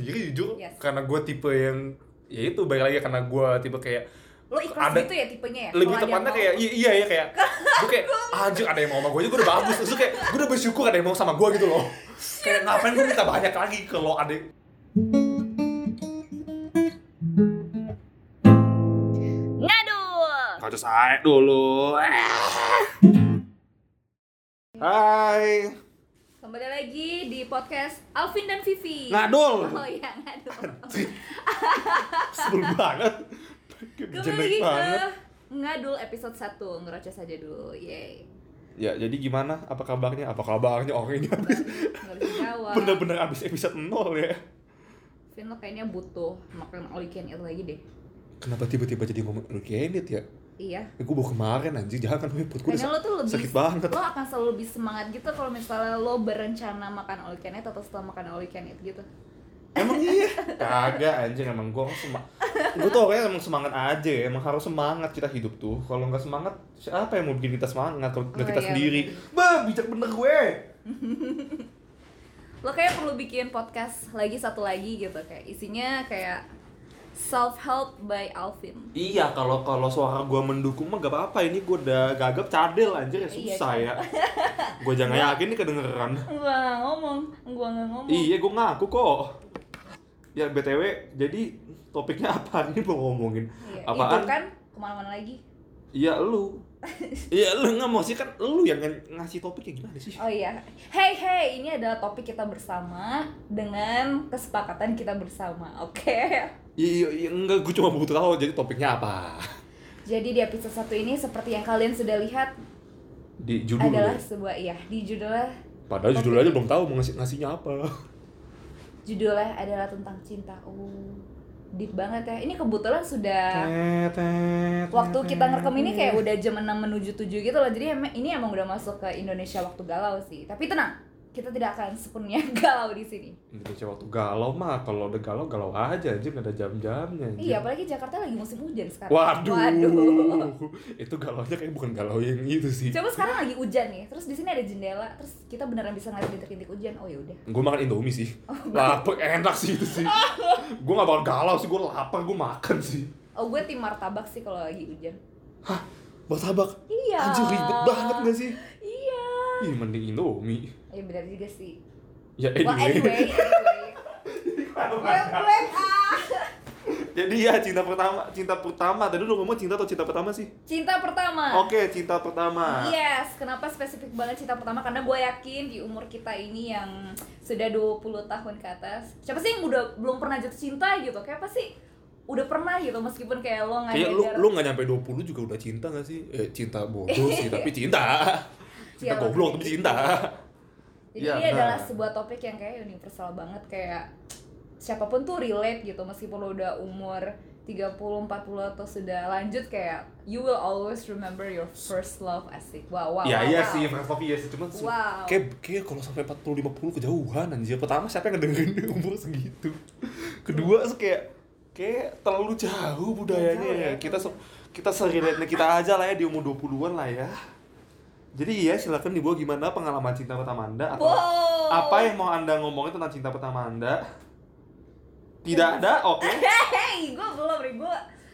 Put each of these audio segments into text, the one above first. jujur Yes. karena gue tipe yang ya itu balik lagi karena gue tipe kayak Lo ikhlas ada- gitu ya tipenya ya? lebih Kalau ada yang tepatnya mau. kayak iya iya ya kayak gue kayak anjir ada yang mau sama gue aja gue udah bagus terus gue kayak gue udah bersyukur ada yang mau sama gue gitu loh kayak ngapain gue minta banyak lagi kalau ada Ngadul. Kau just aek dulu. Hai. Kembali lagi di podcast Alvin dan Vivi Ngadul. Oh iya ngadul sebel banget Kembali jelek lagi ke banget Ngadul episode 1 Ngerocos aja dulu Yeay ya jadi gimana apa kabarnya apa kabarnya orang ini Gak bisa jawab bener-bener abis episode 0 ya Vin lo kayaknya butuh makan all you can eat lagi deh kenapa tiba-tiba jadi ngomong organit ya Iya Eh, gue bawa kemarin anjir jangan kan perut gue Kayaknya lo tuh lebih sakit banget Lo akan selalu lebih semangat gitu kalau misalnya lo berencana makan all you can eat atau setelah makan all you can eat gitu Emang iya? Kagak anjing emang gue semangat. Gue tuh orangnya emang semangat aja ya, emang harus semangat kita hidup tuh. Kalau nggak semangat, siapa yang mau bikin kita semangat kalau nggak Oh, kita iya, sendiri? bener. Bah, bijak bener gue. lo kayak perlu bikin podcast lagi satu lagi gitu kayak isinya kayak self help by Alvin Iya, kalau kalau suara gue mendukung mah gak apa-apa. Ini gue udah gagap cadel anjir ya Iya, susah ya. Gue jangan yakin nih kedengeran. gua nggak ngomong gua nggak ngomong Iya, gue ngaku kok. Ya btw, jadi topiknya apa ini mau ngomongin? Iya, Apaan? itu kan kemana-mana lagi Iya lu. Iya lu nggak mau sih kan lu yang ng- ngasih topiknya gimana sih? oh iya hey hey ini adalah topik kita bersama dengan kesepakatan kita bersama oke Iya, iya, iya, enggak, gue cuma butuh tahu jadi topiknya apa. jadi di episode satu ini seperti yang kalian sudah lihat Di judul. adalah ya? sebuah iya di judulnya Padahal judul topik. aja belum tahu mau ngasih ngasihnya apa. judulnya adalah tentang cinta oh deep banget ya ini kebetulan sudah Iya. waktu kita ngerekam ini kayak udah jam 6 menuju 7 gitu loh jadi em- ini emang udah masuk ke Indonesia waktu galau sih tapi tenang kita tidak akan sepenuhnya galau di sini Indonesia waktu galau mah kalau udah galau galau aja anjir nggak ada jam-jamnya. anjir. iya apalagi Jakarta lagi musim hujan sekarang Waduh. Waduh. Itu galaunya kayak bukan galau yang itu sih. coba sekarang lagi hujan nih terus di sini ada jendela terus kita beneran bisa ngeliat titik-titik hujan oh ya udah Gue makan Indomie sih. Oh, Lapar enak sih itu sih. gue gak bakal galau sih, gue lapar, gue makan sih. oh gue tim martabak sih kalau lagi hujan Martabak. iya Anjir ribet banget gak sih? iya Ih, mending Indomie. ya benar juga sih Ya well anyway, anyway. Black, black, ah. Jadi ya cinta pertama, cinta pertama. Tadi lu ngomong cinta atau cinta pertama sih? cinta pertama Oke, cinta pertama. Yes, kenapa spesifik banget cinta pertama? Karena gue yakin di umur kita ini yang sudah 20 tahun ke atas Siapa sih yang udah belum pernah jatuh cinta gitu? Kayak apa sih? Udah pernah gitu, meskipun kayak lo Kayak ngajar lu lu nggak nyampe 20 juga udah cinta gak sih? Eh, cinta bodoh sih, tapi cinta. Cinta Iya, goblok tapi makanya. cinta. Jadi Iya, ini benar. adalah sebuah topik yang kayak universal banget Kayak siapapun tuh relate gitu Meskipun lo udah umur 30, 40 atau sudah lanjut kayak You will always remember your first love asik Wow, wow, Ya wow, iya wow. sih, first love iya sih, cuman su- Wow. kayak kayak kalau sampai 40 50 kejauhan anjir. Pertama siapa yang ngedengerin umur segitu? Kedua se- kayak kayak terlalu jauh budayanya Jauh ya. ya. Kita se- kita serelate kita aja lah ya di umur 20-an lah ya. Jadi iya silakan dibawa gimana pengalaman cinta pertama Anda atau Wow. apa yang mau anda ngomongin tentang cinta pertama anda tidak ada oke Hey, gue belum ribu.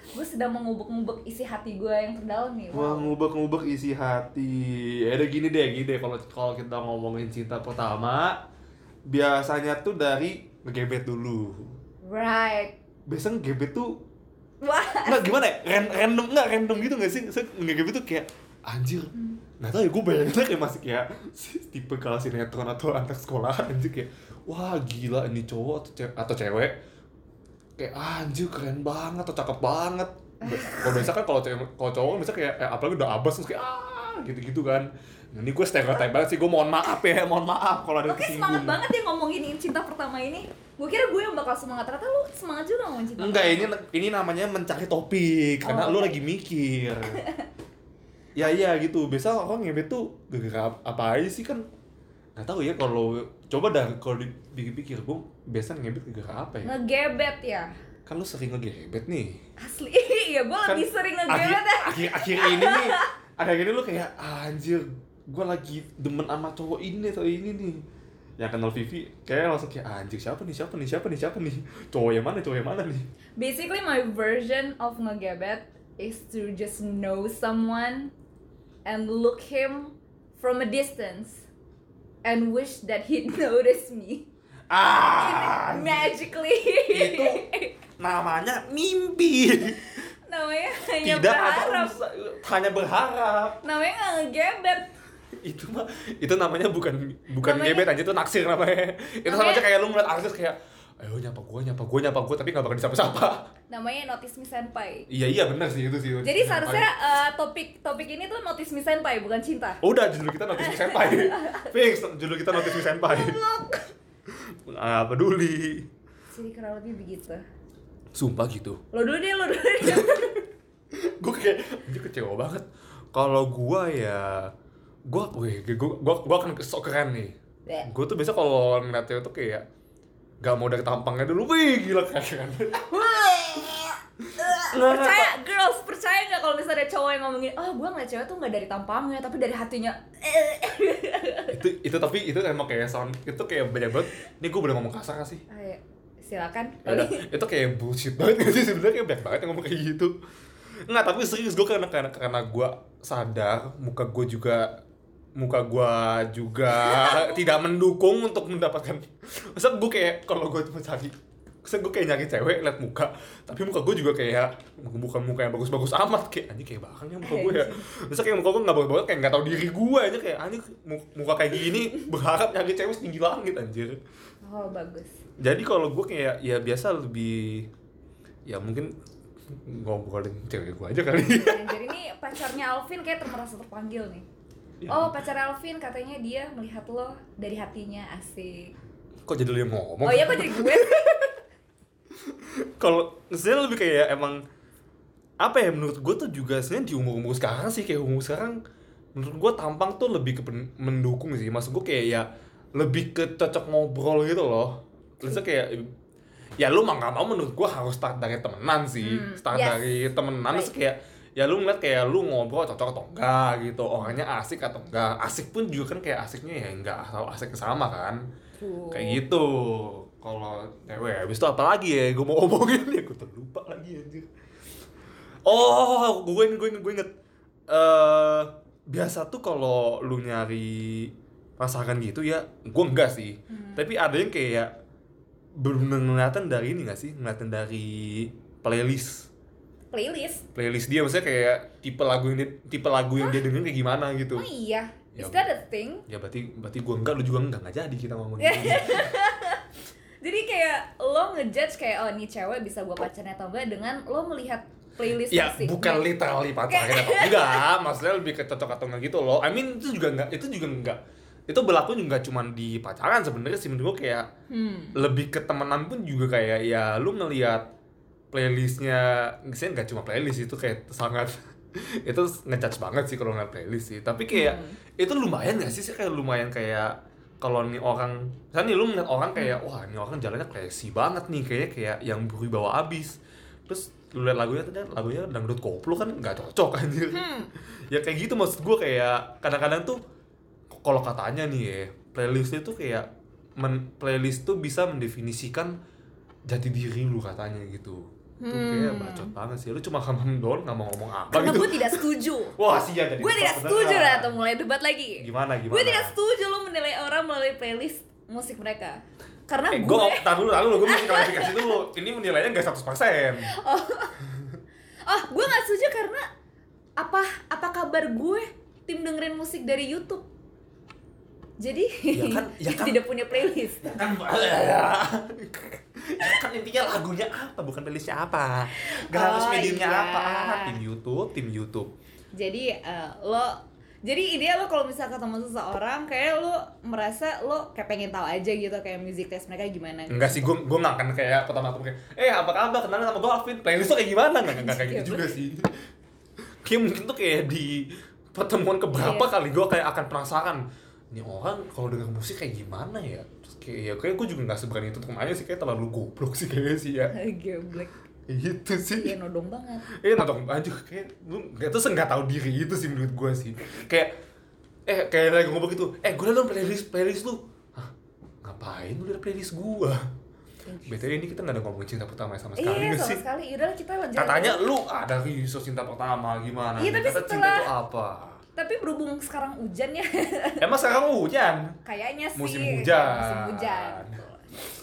Gue sedang mengubek-ngubek isi hati gue yang terdalam nih. wah Wow. ngubek ngubek isi hati ya udah gini deh gini deh kalau kalau kita ngomongin cinta pertama biasanya tuh dari ngegebet dulu Right. biasanya ngegebet tuh Wah. nggak gimana ya Ran- random nggak random gitu nggak sih saya ngegebet tuh kayak anjir nggak tahu ya gue bayangin kayak masih kayak si- tipe kalau sinetron atau anak sekolah anjir kayak wah gila ini cowok atau cewek, atau cewek kayak "Ah, anjir keren banget atau cakep banget Be- kalau biasa kan kalau cewek kalau cowok kan biasa kayak eh, apalagi udah abas terus kayak ah gitu gitu kan nah, ini gue stereotype banget sih gue mohon maaf ya mohon maaf kalau ada Oke, yang semangat kesinggung banget ya ngomongin cinta pertama ini. Gue kira gue yang bakal semangat, ternyata lu semangat juga ngomongin cinta. Enggak, ini pertama. ini namanya mencari topik karena Oh, lu oke. lagi mikir. ya iya gitu. Biasa orang ngebet tuh gara-gara apa aja sih kan nggak tahu ya kalau coba dah kalau dipikir-pikir gue biasa ngebet gara-gara apa ya? Ngegebet ya. Kan lu sering ngegebet nih. Asli. Iya, gue Kan lebih sering Akhir, ngegebet ya. akhir akhir ini nih akhir ini lu kayak "Ah, anjir gue lagi demen sama cowok ini atau ini nih yang kenal Vivi kayak langsung kayak "Ah, anjing siapa nih siapa nih siapa nih siapa nih cowok yang mana cowok yang mana nih Basically my version of ngegebet is to just know someone and look him from a distance and wish that he'd notice me. ah And magically. Itu- namanya mimpi namanya hanya tidak ada berharap. usa- hanya berharap Namanya nggak ngegebet. itu mah itu namanya bukan bukan Namanya- gebet aja itu naksir namanya itu sama Namanya- aja kayak lu ngeliat artis kayak ayo nyapa gua nyapa gua nyapa gua tapi gak bakal disapa-sapa Namanya notice me senpai. iya iya benar sih itu sih Jadi seharusnya eh, topik topik ini tuh notice me senpai bukan cinta. udah judul kita notis senpai fix judul kita notis senpai nggak peduli Jadi kurang lebih begitu. sumpah gitu Lo dulu deh, lo dulu deh. gue kayak anjir kecewa banget kalau gua ya gua weh gua gua, gua akan sok keren nih Bleh. gua tuh biasa kalau ngeliat cewek tuh kayak gak mau dari tampangnya dulu wih gila keren percaya girls percaya nggak kalau misalnya ada cowok yang ngomongin oh gue ngeliat cewek tuh nggak dari tampangnya tapi dari hatinya itu itu tapi itu emang kayak sound itu kayak banyak banget ini gue boleh ngomong kasar gak sih Ayo, silakan ada Ya itu kayak bullshit banget gak sih sebenarnya kayak banyak banget yang ngomong kayak gitu nggak tapi serius gue karena karena karena gue sadar muka gue juga muka gue juga tidak mendukung untuk mendapatkan masa gue kayak kalau gue cuma cari masa gue kayak nyari cewek liat muka tapi muka gue juga kayak bukan muka yang bagus-bagus amat kayak anjing kayak bakangnya muka gue ya masa kayak muka gue nggak bagus-bagus kayak nggak tahu diri gue aja kayak anjing mu- muka kayak gini berharap nyari cewek setinggi langit anjir oh bagus jadi kalau gue kayak ya biasa lebih ya mungkin ngobrolin cewek gue aja kali Anjir ini pacarnya Alvin kayak merasa terpanggil nih Ya. oh pacar Alvin katanya dia melihat lo dari hatinya asik kok jadi lu yang ngomong oh iya kok jadi gue kalau sebenarnya lebih kayak emang apa ya menurut gue tuh juga sebenarnya di umur umur sekarang sih kayak umur sekarang menurut gue tampang tuh lebih ke pen- mendukung sih maksud gue kayak ya lebih ke cocok ngobrol gitu loh Maksudnya kayak ya lu mah nggak mau menurut gue harus start dari temenan sih Hmm, start yes. dari temenan terus Baik. kayak ya lu ngeliat kayak lu ngobrol cocok atau enggak gitu orangnya asik atau enggak asik pun juga kan kayak asiknya ya enggak asal asik sama kan Tuh. kayak gitu kalau cewek habis itu apa lagi ya gue mau omongin ya gue terlupa lagi anjir oh gue inget gue inget gue inget Eh, biasa tuh kalau lu nyari pasangan gitu ya gue enggak sih Hmm. tapi ada yang kayak belum ngeliatan dari ini gak sih ngeliatan dari playlist playlist playlist dia maksudnya kayak tipe lagu yang dia, tipe lagu yang dia dengerin kayak gimana gitu oh iya Ya, is that a thing ya berarti berarti gue enggak lu juga enggak nggak jadi kita gitu. ngomong jadi kayak lo ngejudge kayak oh ini cewek bisa gue pacarnya atau enggak dengan lo melihat playlist Ya, asik Nah. bukan literally pacarnya atau enggak, maksudnya lebih ke cocok atau enggak gitu loh. I mean itu juga enggak, itu juga enggak. Itu berlaku juga cuma di pacaran sebenarnya sih menurut gue kayak hmm. lebih ke temenan pun juga kayak ya lu ngelihat playlistnya, saya nggak cuma playlist itu kayak sangat itu ngejudge banget sih kalau ngeliat playlist sih. Tapi kayak itu lumayan gak sih sih kayak lumayan kayak kalau nih orang, misalnya nih lu ngeliat orang kayak wah ini orang jalannya classy banget nih kayaknya kayak yang berwibawa abis. Terus lu liat lagunya ternyata lagunya dangdut koplo kan nggak cocok anjir Hmm. ya kayak gitu maksud gue kayak kadang-kadang tuh k- kalau katanya nih ya playlistnya tuh kayak men- playlist tuh bisa mendefinisikan jati diri lu katanya gitu itu kayak Hmm. bacot banget sih lu cuma hamam doang nggak mau ngomong apa karena gitu gue tidak setuju wah sia jadi gue tidak debat setuju beneran. lah atau mulai debat lagi gimana gimana gue tidak setuju lo menilai orang melalui playlist musik mereka karena eh, gue gue tar dulu tar dulu gue mesti klarifikasi dulu ini menilainya nggak 100% oh gue nggak setuju karena apa apa kabar gue tim dengerin musik dari YouTube jadi Ya kan- ya kan. tidak punya playlist ya kan ya kan intinya lagunya apa bukan playlistnya apa nggak harus Oh, mediumnya iya. apa Ah, tim YouTube tim YouTube jadi eh, lo jadi ideal lo kalau misal ketemu seseorang kayak lo merasa lo kayak pengen tahu aja gitu kayak music taste mereka gimana Enggak sih, gue gue nggak akan kayak pertama ketemu kayak, eh apa kabar kenalin sama gue Alvin, playlist tuh kayak gimana nggak nggak kayak gitu juga sih. Kayak mungkin tuh kayak di pertemuan keberapa Iya. kali gue kayak akan penasaran. Ini orang kalau denger musik kayak gimana ya? Terus kayak ya kayak gue juga nggak seberani itu temannya sih kayak terlalu goblok sih kayaknya sih ya. Geblek, Gitu sih. ya nodong banget Eh nonton anjir kayak lu nggak tuh nggak tahu diri itu sih menurut gue sih. Kayak eh kayak lagi ngomong gitu, eh gue liat dong playlist playlist lu. Hah, ngapain lu liat playlist gua BTW ini kita nggak ada ngomongin cinta pertama ya sama sekali iya nggak sama sih sekali udahlah kita lanjut katanya lu ada riso cinta pertama gimana nih? Iya, tapi Kata cinta setelah- itu apa tapi berhubung sekarang hujan ya emang sekarang hujan kayaknya sih Musim ya, hujan. musim hujan betul.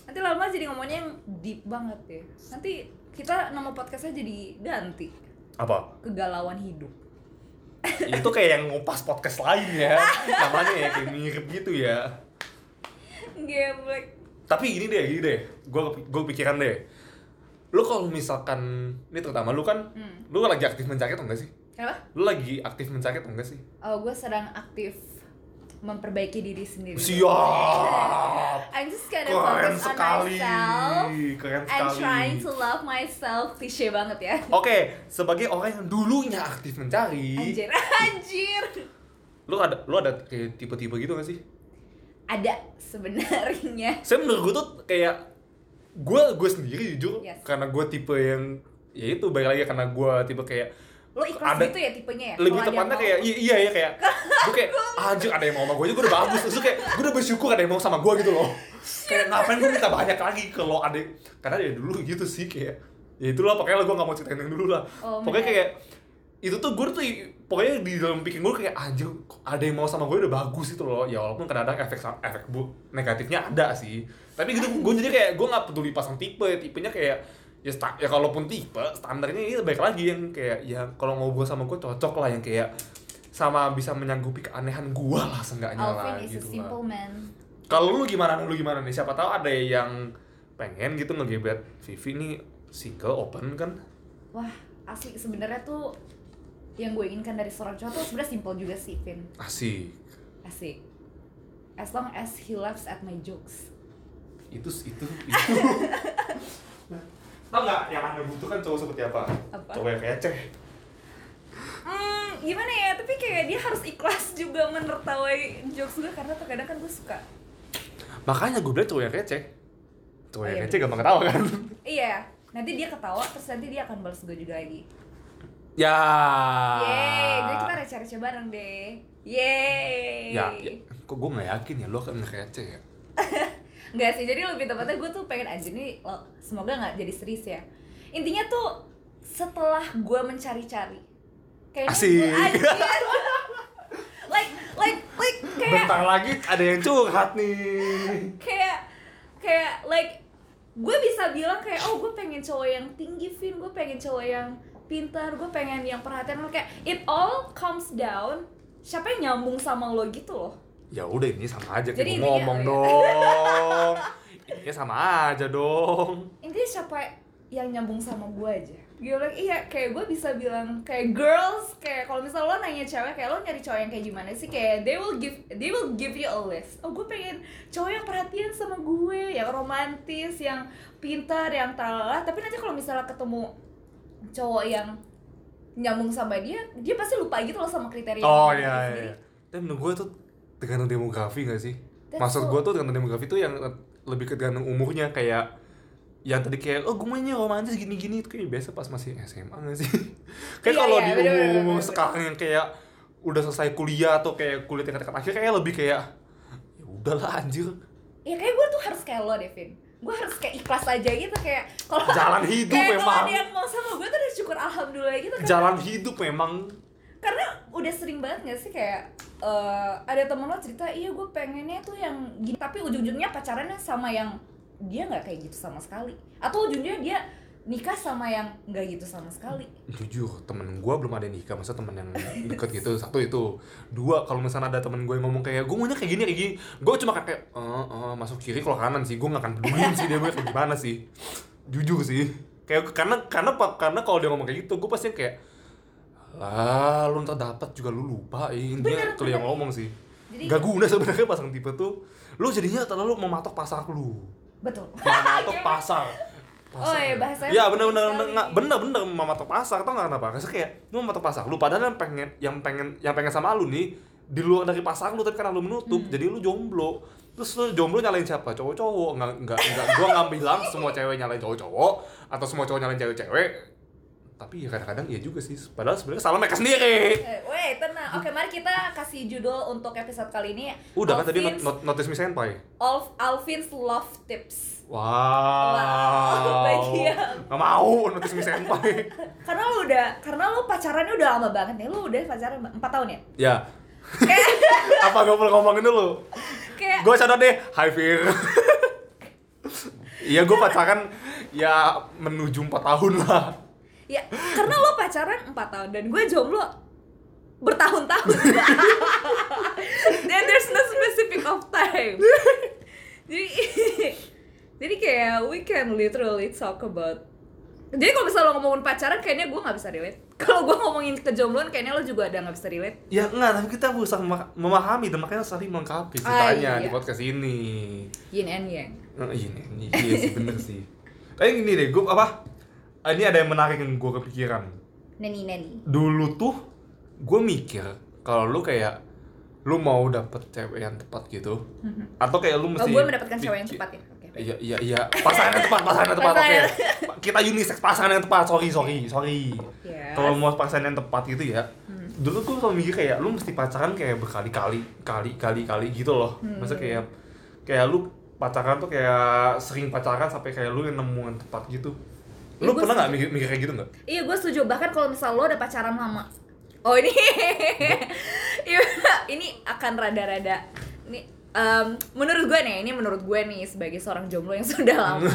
nanti lama jadi ngomongnya yang deep banget ya nanti kita nama podcastnya jadi ganti apa kegalauan hidup itu kayak yang ngupas podcast lain ya namanya ya kayak mirip gitu ya geblek tapi gini deh gini deh gue gue pikiran deh lu kalau misalkan ini terutama lu kan Hmm. lu lagi aktif mencari atau enggak sih apa lu lagi aktif mencari atau enggak sih oh gue sedang aktif memperbaiki diri sendiri siap I'm just keren gonna Iya. focus on sekali myself keren and trying to sekali love myself klise banget ya oke sebagai orang yang dulunya aktif mencari anjir anjir lu ada lu ada kayak tipe-tipe gitu gak sih ada sebenarnya saya menurut gue tuh kayak gue gue sendiri jujur Yes. karena gue tipe yang ya itu balik lagi karena gue tipe kayak lo ikhlas Ada- gitu ya tipenya ya lebih Kalau ada yang tepatnya mau- kayak iya iya, iya kayak gue kayak anjir ada yang mau sama gue aja gue udah bagus terus gue kayak gue udah bersyukur ada yang mau sama gue gitu loh kayak ngapain gue minta banyak lagi kalau ada karena ya dulu gitu sih kayak ya itulah pokoknya gue gak mau ceritain yang dulu lah Oh, pokoknya man. kayak itu tuh gue tuh pokoknya di dalam pikiran gue kayak anjir ada yang mau sama gue udah bagus gitu loh ya walaupun kadang-kadang efek efek bu negatifnya ada sih tapi gitu gue jadi kayak gue nggak peduli pasang tipe tipenya kayak ya, sta- ya kalaupun tipe standarnya ini baik lagi yang kayak ya kalau ngobrol sama gue cocok lah yang kayak sama bisa menyanggupi keanehan gue lah seenggaknya Alvin lah is a gitu lah simple man kalau lu gimana lu gimana nih siapa tahu ada yang pengen gitu ngegebet Vivi nih single open kan wah asli sebenarnya tuh yang gue inginkan dari seorang cowok tuh sebenarnya simple juga sih Vin asik asik as long as he laughs at my jokes itu itu itu tau nggak yang anda butuhkan cowok seperti apa, Apa? cowok yang receh hmm gimana ya tapi kayak dia harus ikhlas juga menertawai jokes gue karena terkadang kan gue suka makanya gue bilang cowok yang receh cowok Oh, yang iya, receh gampang ketawa kan iya nanti dia ketawa terus nanti dia akan balas gue juga lagi ya Yeay, jadi kita receh-receh bareng deh Yeay Ah. ya, ya kok gue nggak yakin ya lo akan receh ya Nggak sih, jadi lebih tepatnya gue tuh pengen aja nih lo- Semoga nggak jadi serius ya Intinya tuh setelah gue mencari-cari Kayaknya Asik. gua- anjir. Like, like, like kayak bentar lagi ada yang curhat nih kayak kayak like gue bisa bilang kayak oh gue pengen cowok yang tinggi Vin gue pengen cowok yang pintar gue pengen yang perhatian kayak it all comes down siapa yang nyambung sama lo gitu loh ya udah ini sama aja kayak gua Jadi intinya- ngomong oh, dong ini sama aja dong intinya siapa yang nyambung sama gue aja gue bilang iya kayak gue bisa bilang kayak girls kayak kalau misal lo nanya cewek kayak lo nyari cowok yang kayak gimana sih kayak they will give they will give you a list oh gue pengen cowok yang perhatian sama gue yang romantis yang pintar yang talala tapi nanti kalau misalnya ketemu cowok yang nyambung sama dia dia pasti lupa gitu loh sama kriteria oh dia iya sendiri. iya tapi menurut gue tuh tergantung demografi gak sih That's maksud so- gue tuh tergantung demografi tuh yang lebih tergantung umurnya kayak yang tadi kayak oh gue mainnya romantis gini-gini itu kayak biasa pas masih SMA gak sih kayak Iya, kalau iya, di bener, bener, umur-umur bener. sekarang yang kayak udah selesai kuliah atau kayak kuliah tingkat akhir kayak lebih kayak ya udahlah anjir ya kayak gue tuh harus kayak lo Devin gue harus kayak ikhlas aja gitu kayak kalau Jalan hidup kayak kalau memang. ada yang mau sama gue tuh udah syukur alhamdulillah gitu kan jalan hidup memang karena udah sering banget gak sih kayak eh, ada temen lo cerita iya gue pengennya tuh yang gini tapi ujung-ujungnya pacarannya sama yang dia nggak kayak gitu sama sekali atau ujungnya dia nikah sama yang nggak gitu sama sekali jujur temen gue belum ada yang nikah masa temen yang deket gitu satu itu dua kalau misalnya ada temen gue yang ngomong kayak gue maunya kayak gini kayak gini gue cuma kayak eh eh, masuk kiri kalau kanan sih gue gak akan peduliin sih dia mau kayak gimana sih jujur sih kayak karena karena pa- karena kalau dia ngomong kayak gitu gue pasti kayak lah lu ntar dapat juga lu lupain dia Bener, kalau yang bener. ngomong sih Jadi- gak guna sebenarnya pasang tipe tuh lu jadinya terlalu mematok pasar lu betul mematok pasar. Oh, iya, bahasanya ya bener bener penting nggak sekali. bener bener mematok pasar tau nggak kenapa Karena kayak lu mematok pasar lu padahal yang pengen yang pengen yang pengen sama lu nih di luar dari pasar lu tapi karena lu menutup Hmm. jadi lu jomblo terus lu jomblo nyalain siapa cowok-cowok nggak nggak nggak gua nggak bilang semua cewek nyalain cowok-cowok atau semua cowok nyalain cewek-cewek tapi ya kadang-kadang iya juga sih padahal sebenarnya salah mereka sendiri Eh, Weh, tenang. Oke, mari kita kasih judul untuk episode kali ini. udah kan tadi not, Alvin's- not, notice me senpai Alf- Alvin's Love Tips. wow, Wow, bagian. nggak mau notice me senpai Karena lu udah, karena lu pacarannya udah lama banget nih. Lu udah pacaran 4 tahun ya? ya Kayak, apa gue perlu ngomongin dulu kayak gue sadar deh hi Fir Iya gue pacaran ya menuju 4 tahun lah ya karena lo pacaran 4 tahun dan gue jomblo bertahun-tahun dan there's no specific of time jadi jadi kayak we can literally talk about jadi kalau misalnya lo ngomongin pacaran kayaknya gue nggak bisa relate kalau gue ngomongin kejombloan kayaknya lo juga udah nggak bisa relate Ya enggak, tapi kita berusaha mema- memahami dan makanya saling melengkapi ceritanya Ah, iya. di podcast ini yin and yang Eh, Iya nih, ini- iya sih bener sih Tapi gini deh, gue apa ah, Ini ada yang menarik yang gue kepikiran neni neni Dulu tuh gue mikir kalau lu kayak lu mau dapet cewek yang tepat gitu atau kayak lu oh mesti gue mendapatkan cewek yang di- tepat ya oke baik. Iya iya iya pasangan yang tepat pasangan yang tepat oke Pasangan. kita unisex pasangan yang tepat sorry sorry sorry Yes. Hmm. kalau mau pasangan yang tepat gitu ya dulu gue selalu mikir kayak lu mesti pacaran kayak berkali-kali kali kali kali gitu loh Hmm. maksudnya kayak kayak lu pacaran tuh kayak sering pacaran sampai kayak lu yang nemu yang tepat gitu lu Ya, gua pernah nggak setuju. mikir, mikir kayak gitu nggak Iya gue setuju bahkan kalau misal lo udah pacaran lama. Oh ini Iya, ini akan rada-rada ini em, menurut gue nih ini menurut gue nih sebagai seorang jomblo yang sudah lama.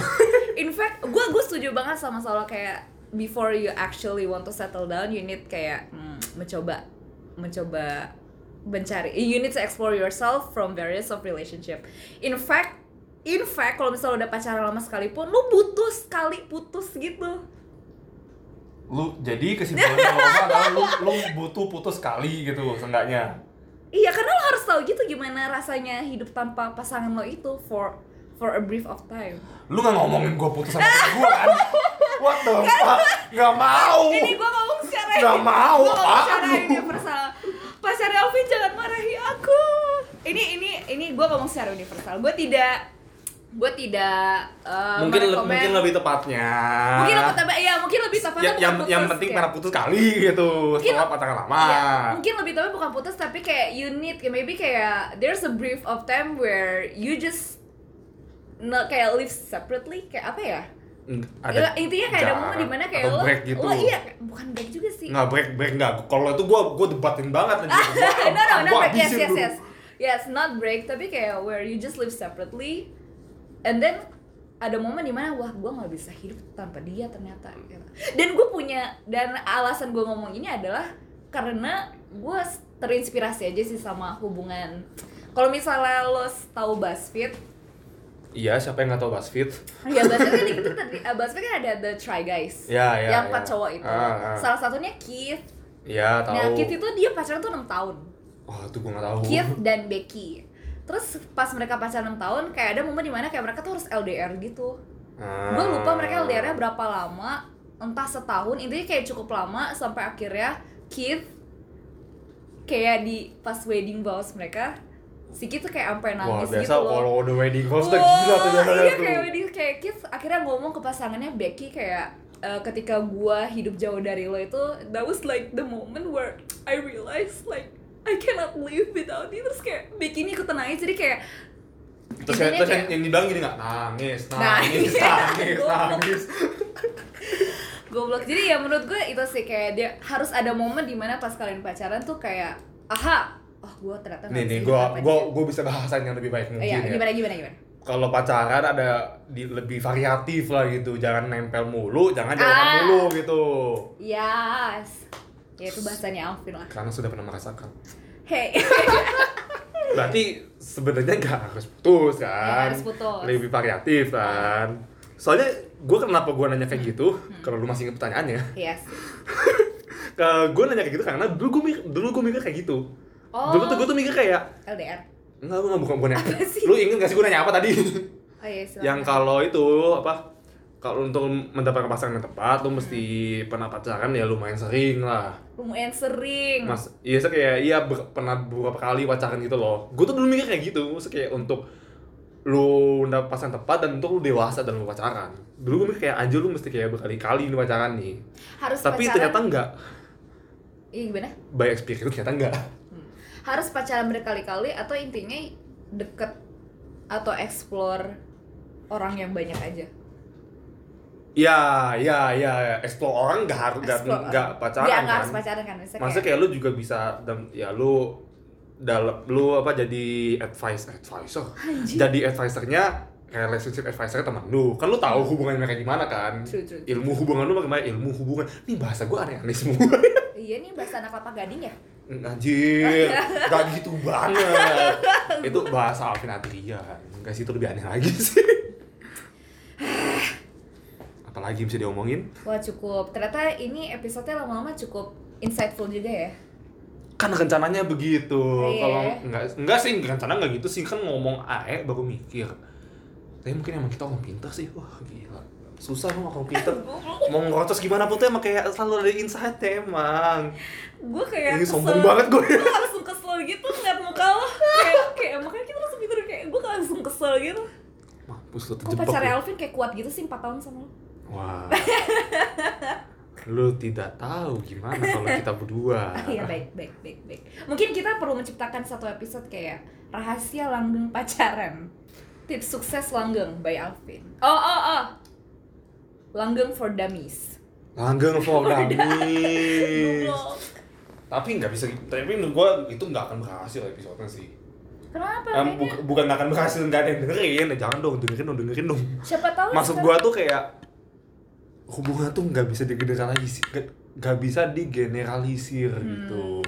In fact gue gue setuju banget sama soal kayak before you actually want to settle down you need kayak mm, mencoba mencoba mencari you need to explore yourself from various of relationship. In fact In fact, kalau misalnya udah pacaran lama sekalipun, lu butuh sekali putus gitu. lu jadi kesimpulannya kalau nggak adalah lu lu butuh putus kali gitu seenggaknya Iya karena lo harus tahu gitu gimana rasanya hidup tanpa pasangan lo itu for for a brief of time. lu nggak ngomongin gua putus sama gue kan what the fuck nggak mau Ini gue ngomong secara Oh. Nggak mau, Gua ngomong apaan secara lu? universal. Pacar Elvin jangan marahi aku. Ini ini ini gue ngomong secara universal. Gue tidak gue tidak uh, mungkin le- merekomen- mungkin lebih tepatnya mungkin lebih tepat ya mungkin lebih tepatnya Ya- bukan yang yang putus, penting ya. karena putus kali gitu Mungkin- setelah pacaran lama Iya, mungkin lebih tapi bukan putus tapi kayak you need kayak maybe kayak there's a brief of time where you just no, kayak live separately kayak apa ya? Nggak- Ya, intinya kayak ada momen jarak dimana kayak atau lo, break gitu lo iya bukan break juga sih. nggak break break nggak kalau itu gua gua debatin banget aja no no no Gua break yes habisin yes dulu. yes yes not break tapi kayak where you just live separately and then ada momen dimana wah gue nggak bisa hidup tanpa dia ternyata gitu. dan gue punya dan alasan gue ngomong ini adalah karena gue terinspirasi aja sih sama hubungan kalau misalnya lo tahu BuzzFeed iya siapa yang nggak tahu BuzzFeed Ya BuzzFeed kan itu tadi, eh, BuzzFeed kan ada The Try Guys Ya, ya, Yang empat ya. cowok itu Ah, ah. Salah satunya Keith ya tahu Nah Keith itu dia pacaran tuh 6 tahun oh itu gua nggak tahu Keith dan Becky terus pas mereka pacaran 6 tahun kayak ada momen dimana kayak mereka tuh harus LDR gitu Ah. gue lupa mereka LDR-nya berapa lama entah setahun intinya kayak cukup lama sampai akhirnya Keith kayak di pas wedding vows mereka si Keith tuh kayak sampai Wah, nangis biasa gitu loh kalau the wedding host udah Wah, gila tuh biasanya iya, tuh. kayak wedding kayak Keith akhirnya ngomong ke pasangannya Becky kayak "Eh, ketika gua hidup jauh dari lo itu that was like the moment where I realized like I cannot live without you terus kayak Becky ini ikutan nangis jadi kayak Terus, yang- terus yang, kayak- yang dibilang gini nggak nangis, Nah, nangis, iya. nangis, nangis. goblok jadi ya menurut gue itu sih kayak dia harus ada momen dimana pas kalian pacaran tuh kayak aha oh gua ternyata nggak Nih nih, gue bisa hidup tanpa gue dia." gue bisa bahasan yang lebih baik Oh, mungkin iya ya. gimana gimana gimana Kalau pacaran ada di, lebih variatif lah gitu, jangan nempel mulu, jangan jauhan Ah. mulu gitu. yes ya itu bahasanya Alvin lah Karena sudah pernah merasakan. hey Berarti sebenarnya nggak harus putus Nggak kan? harus putus. Lebih variatif kan? Soalnya gue kenapa gue nanya Hmm. kayak gitu? Kalau lu masih ingat pertanyaannya, yes gue nanya kayak gitu karena dulu gue dulu gue mikir kayak gitu. Oh. Dulu tuh gue tuh mikir kayak LDR Enggak, enggak, bukan, bukan yang Apa sih? Lu inget gak sih gue nanya apa tadi? oh iya silakan. yang kalau itu, apa kalau untuk mendapatkan pasangan yang tepat, lu mesti pernah pacaran ya lumayan sering lah lumayan sering Mas, iya saya kayak, iya ber- pernah beberapa kali pacaran gitu loh Gue tuh dulu mikir kayak gitu, maksudnya kayak untuk lu udah pasangan tepat dan untuk lu dewasa dan lu pacaran dulu gue mikir kayak anjir lu mesti kayak berkali-kali nih pacaran nih harus tapi pacaran ternyata enggak iya gimana by experience ternyata enggak harus pacaran berkali-kali atau intinya deket atau explore orang yang banyak aja ya ya ya explore orang nggak harus nggak Explore. nggak pacaran Nggak, nggak kan harus pacaran kan Maksudnya maksudnya kayak- kayak lu juga bisa dam- ya lu dalam lu apa jadi advice advisor Anjir. jadi advisornya relationship advisornya teman lu kan lu tahu hubungan mereka gimana kan True, true, true. ilmu hubungan lu bagaimana ilmu hubungan nih bahasa gua aneh-aneh semua iya nih bahasa anak kelapa gading ya Anjir, gak gitu banget Itu bahasa Alvin Adrian Gak sih, itu lebih aneh lagi sih Apalagi bisa diomongin wah cukup ternyata ini episodenya lama-lama cukup insightful juga ya Kan rencananya begitu Iya. Kalau enggak, enggak sih, rencana enggak gitu sih Kan ngomong AE baru mikir Tapi mungkin emang kita orang pintar sih Wah gila Susah lu orang pintar Mau ngerocos gimana pun tuh emang kayak selalu ada insight emang gue kayak Ini kesel. sombong banget gue gue langsung kesel gitu ngeliat muka lo kayak kayak makanya kita langsung mikir kayak gue langsung kesel gitu Mampus lu kok terjebak pacarnya lu. Alvin kayak kuat gitu sih 4 tahun sama lo Wah. Lu tidak tahu gimana kalau kita berdua. iya baik baik baik baik mungkin kita perlu menciptakan satu episode kayak rahasia langgeng pacaran tips sukses langgeng by Alvin oh oh oh langgeng for dummies Langgeng for dummies. Goblok. tapi nggak bisa tapi menurut gua itu nggak akan berhasil episode-nya sih. kenapa Em, Kayaknya bu- bukan nggak akan berhasil nggak ada yang dengerin, Eh, jangan dong dengerin dong dengerin dong. siapa tahu Maksud kita- gua tuh kayak hubungan tuh nggak bisa digeneralisir, nggak- nggak bisa digeneralisir gitu.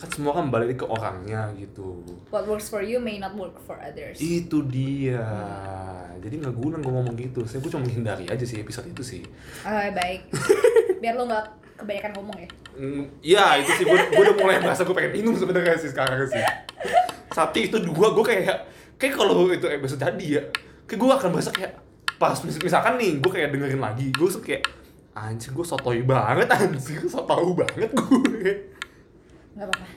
Kan semua kan balik ke orangnya gitu. what works for you may not work for others Itu dia. Jadi nggak guna gue ngomong gitu. Saya gue cuma menghindari aja sih episode itu sih. Ah, baik biar lo nggak kebanyakan ngomong ya Mm, ya itu sih gue gue udah mulai merasa gue pengen minum sebenarnya sih sekarang sih. Satu itu dua gue kayak kayak kalau itu episode tadi ya, kayak gue akan merasa kayak pas mis- misalkan nih gue kayak dengerin lagi gue suka kayak anjir gue sotoy banget anjir so tau banget gue nggak apa-apa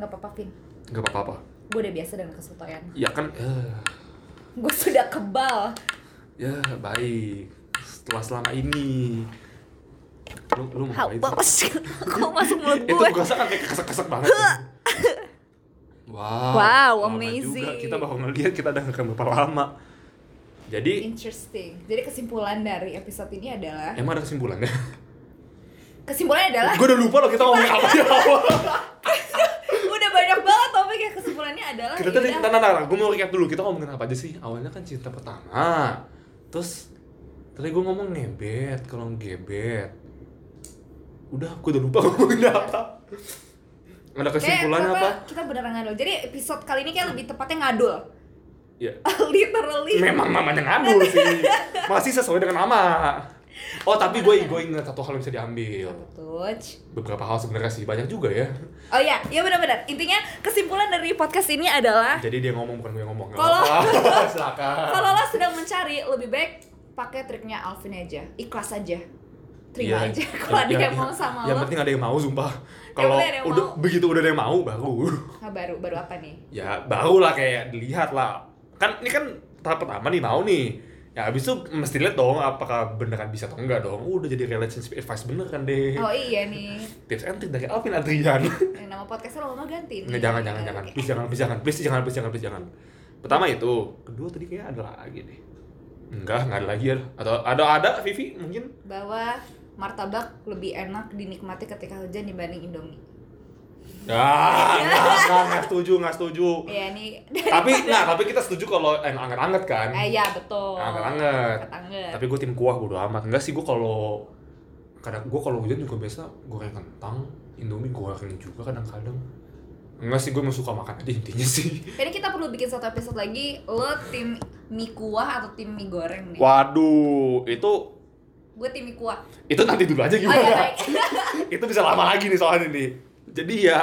nggak apa-apa Vin nggak apa-apa gue udah biasa dengan kesotoyan ya kan eh, gue sudah kebal ya baik setelah selama ini lu lu mau Hau ngapain? banget sih. Kok masuk mulut itu gue? berasa kan kayak kesek-kesek banget wow Wow, lama amazing. juga. kita baru ngeliat kita udah ngerekam berapa lama jadi Interesting. Jadi kesimpulan dari episode ini adalah emang ada kesimpulannya kesimpulannya adalah gue udah lupa loh kita ngomongin apa di awal udah banyak banget topiknya kesimpulannya adalah ya kita tadi yaudah. tanah tanah gue mau recap dulu kita ngomongin apa aja sih awalnya kan cinta pertama terus tadi gue ngomong ngebet kalau gebet udah gue udah lupa ngomongin apa ada kesimpulannya Kayak apa apa, Kita beneran ngadul. Jadi episode kali ini kayak lebih tepatnya ngadul. ya Literally. memang namanya ngadu sih masih sesuai dengan nama oh tapi gue gue ingat satu hal yang bisa diambil Tuh. beberapa hal sebenarnya sih banyak juga ya Oh iya, iya benar-benar. Intinya kesimpulan dari podcast ini adalah jadi dia ngomong bukan gue yang ngomong Gak Ah. Kalau- apa-apa, silakan kalau lo sedang mencari lebih baik pakai triknya Alvin aja. Ikhlas aja. Terima Iya. aja kalau Ya, ada ya, yang mau ya. sama yang lo. penting ada yang mau sumpah kalau penting ada yang udah mau. begitu udah ada yang mau baru Nah, baru baru apa nih? ya baru lah kayak dilihat lah kan ini kan tahap pertama nih mau nih ya habis itu mesti lihat dong apakah beneran bisa atau enggak dong udah jadi relationship advice bener kan deh Oh iya nih. tips and trick dari Alvin Adrian Eh, nama podcastnya lo mau ganti nih. Nggak, jangan, jangan, jangan. Oke. Please, jangan, please, jangan. Please, jangan, please, jangan, please, jangan. Pertama itu. Kedua tadi kayaknya ada lagi deh. Enggak, enggak ada lagi ya. Atau ada ada Vivi mungkin. Bahwa martabak lebih enak dinikmati ketika hujan dibanding Indomie. Ah, enggak, enggak, enggak setuju, enggak setuju. Iya nih. Tapi nah, tapi kita setuju kalau yang anget-anget kan. Eh ya betul. Anget-anget. Anget-anget. Tapi gue tim kuah bodo amat. Enggak sih gue kalau kadang gue kalau hujan juga biasa goreng kentang, Indomie goreng juga kadang-kadang. Enggak sih gue emang suka makan aja intinya sih. Jadi kita perlu bikin satu episode lagi lo tim mie kuah atau tim mie goreng nih? Waduh, itu Gue tim mie kuah. itu nanti dulu aja Oh gimana? iya baik. itu bisa lama lagi nih soalnya nih jadi ya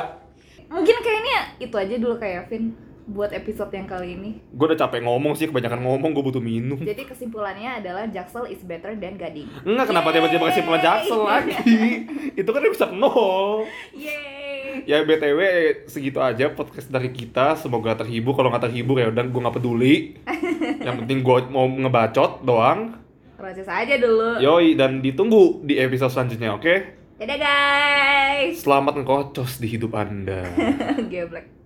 Mungkin kayaknya itu aja dulu kayak Vin buat episode yang kali ini. gue udah capek ngomong sih kebanyakan ngomong gue butuh minum Jadi kesimpulannya adalah Jaksel is better than Gading. Enggak, kenapa tiba-tiba kasih Yeay. Jaksel lagi? Itu kan bisa nol. Yeay. Ya BTW segitu aja podcast dari kita. Semoga terhibur. Kalau nggak terhibur ya udah gue nggak peduli. yang penting gue mau ngebacot doang proses aja dulu yoi dan ditunggu di episode selanjutnya oke dadah guys selamat ngekocos di hidup anda geblek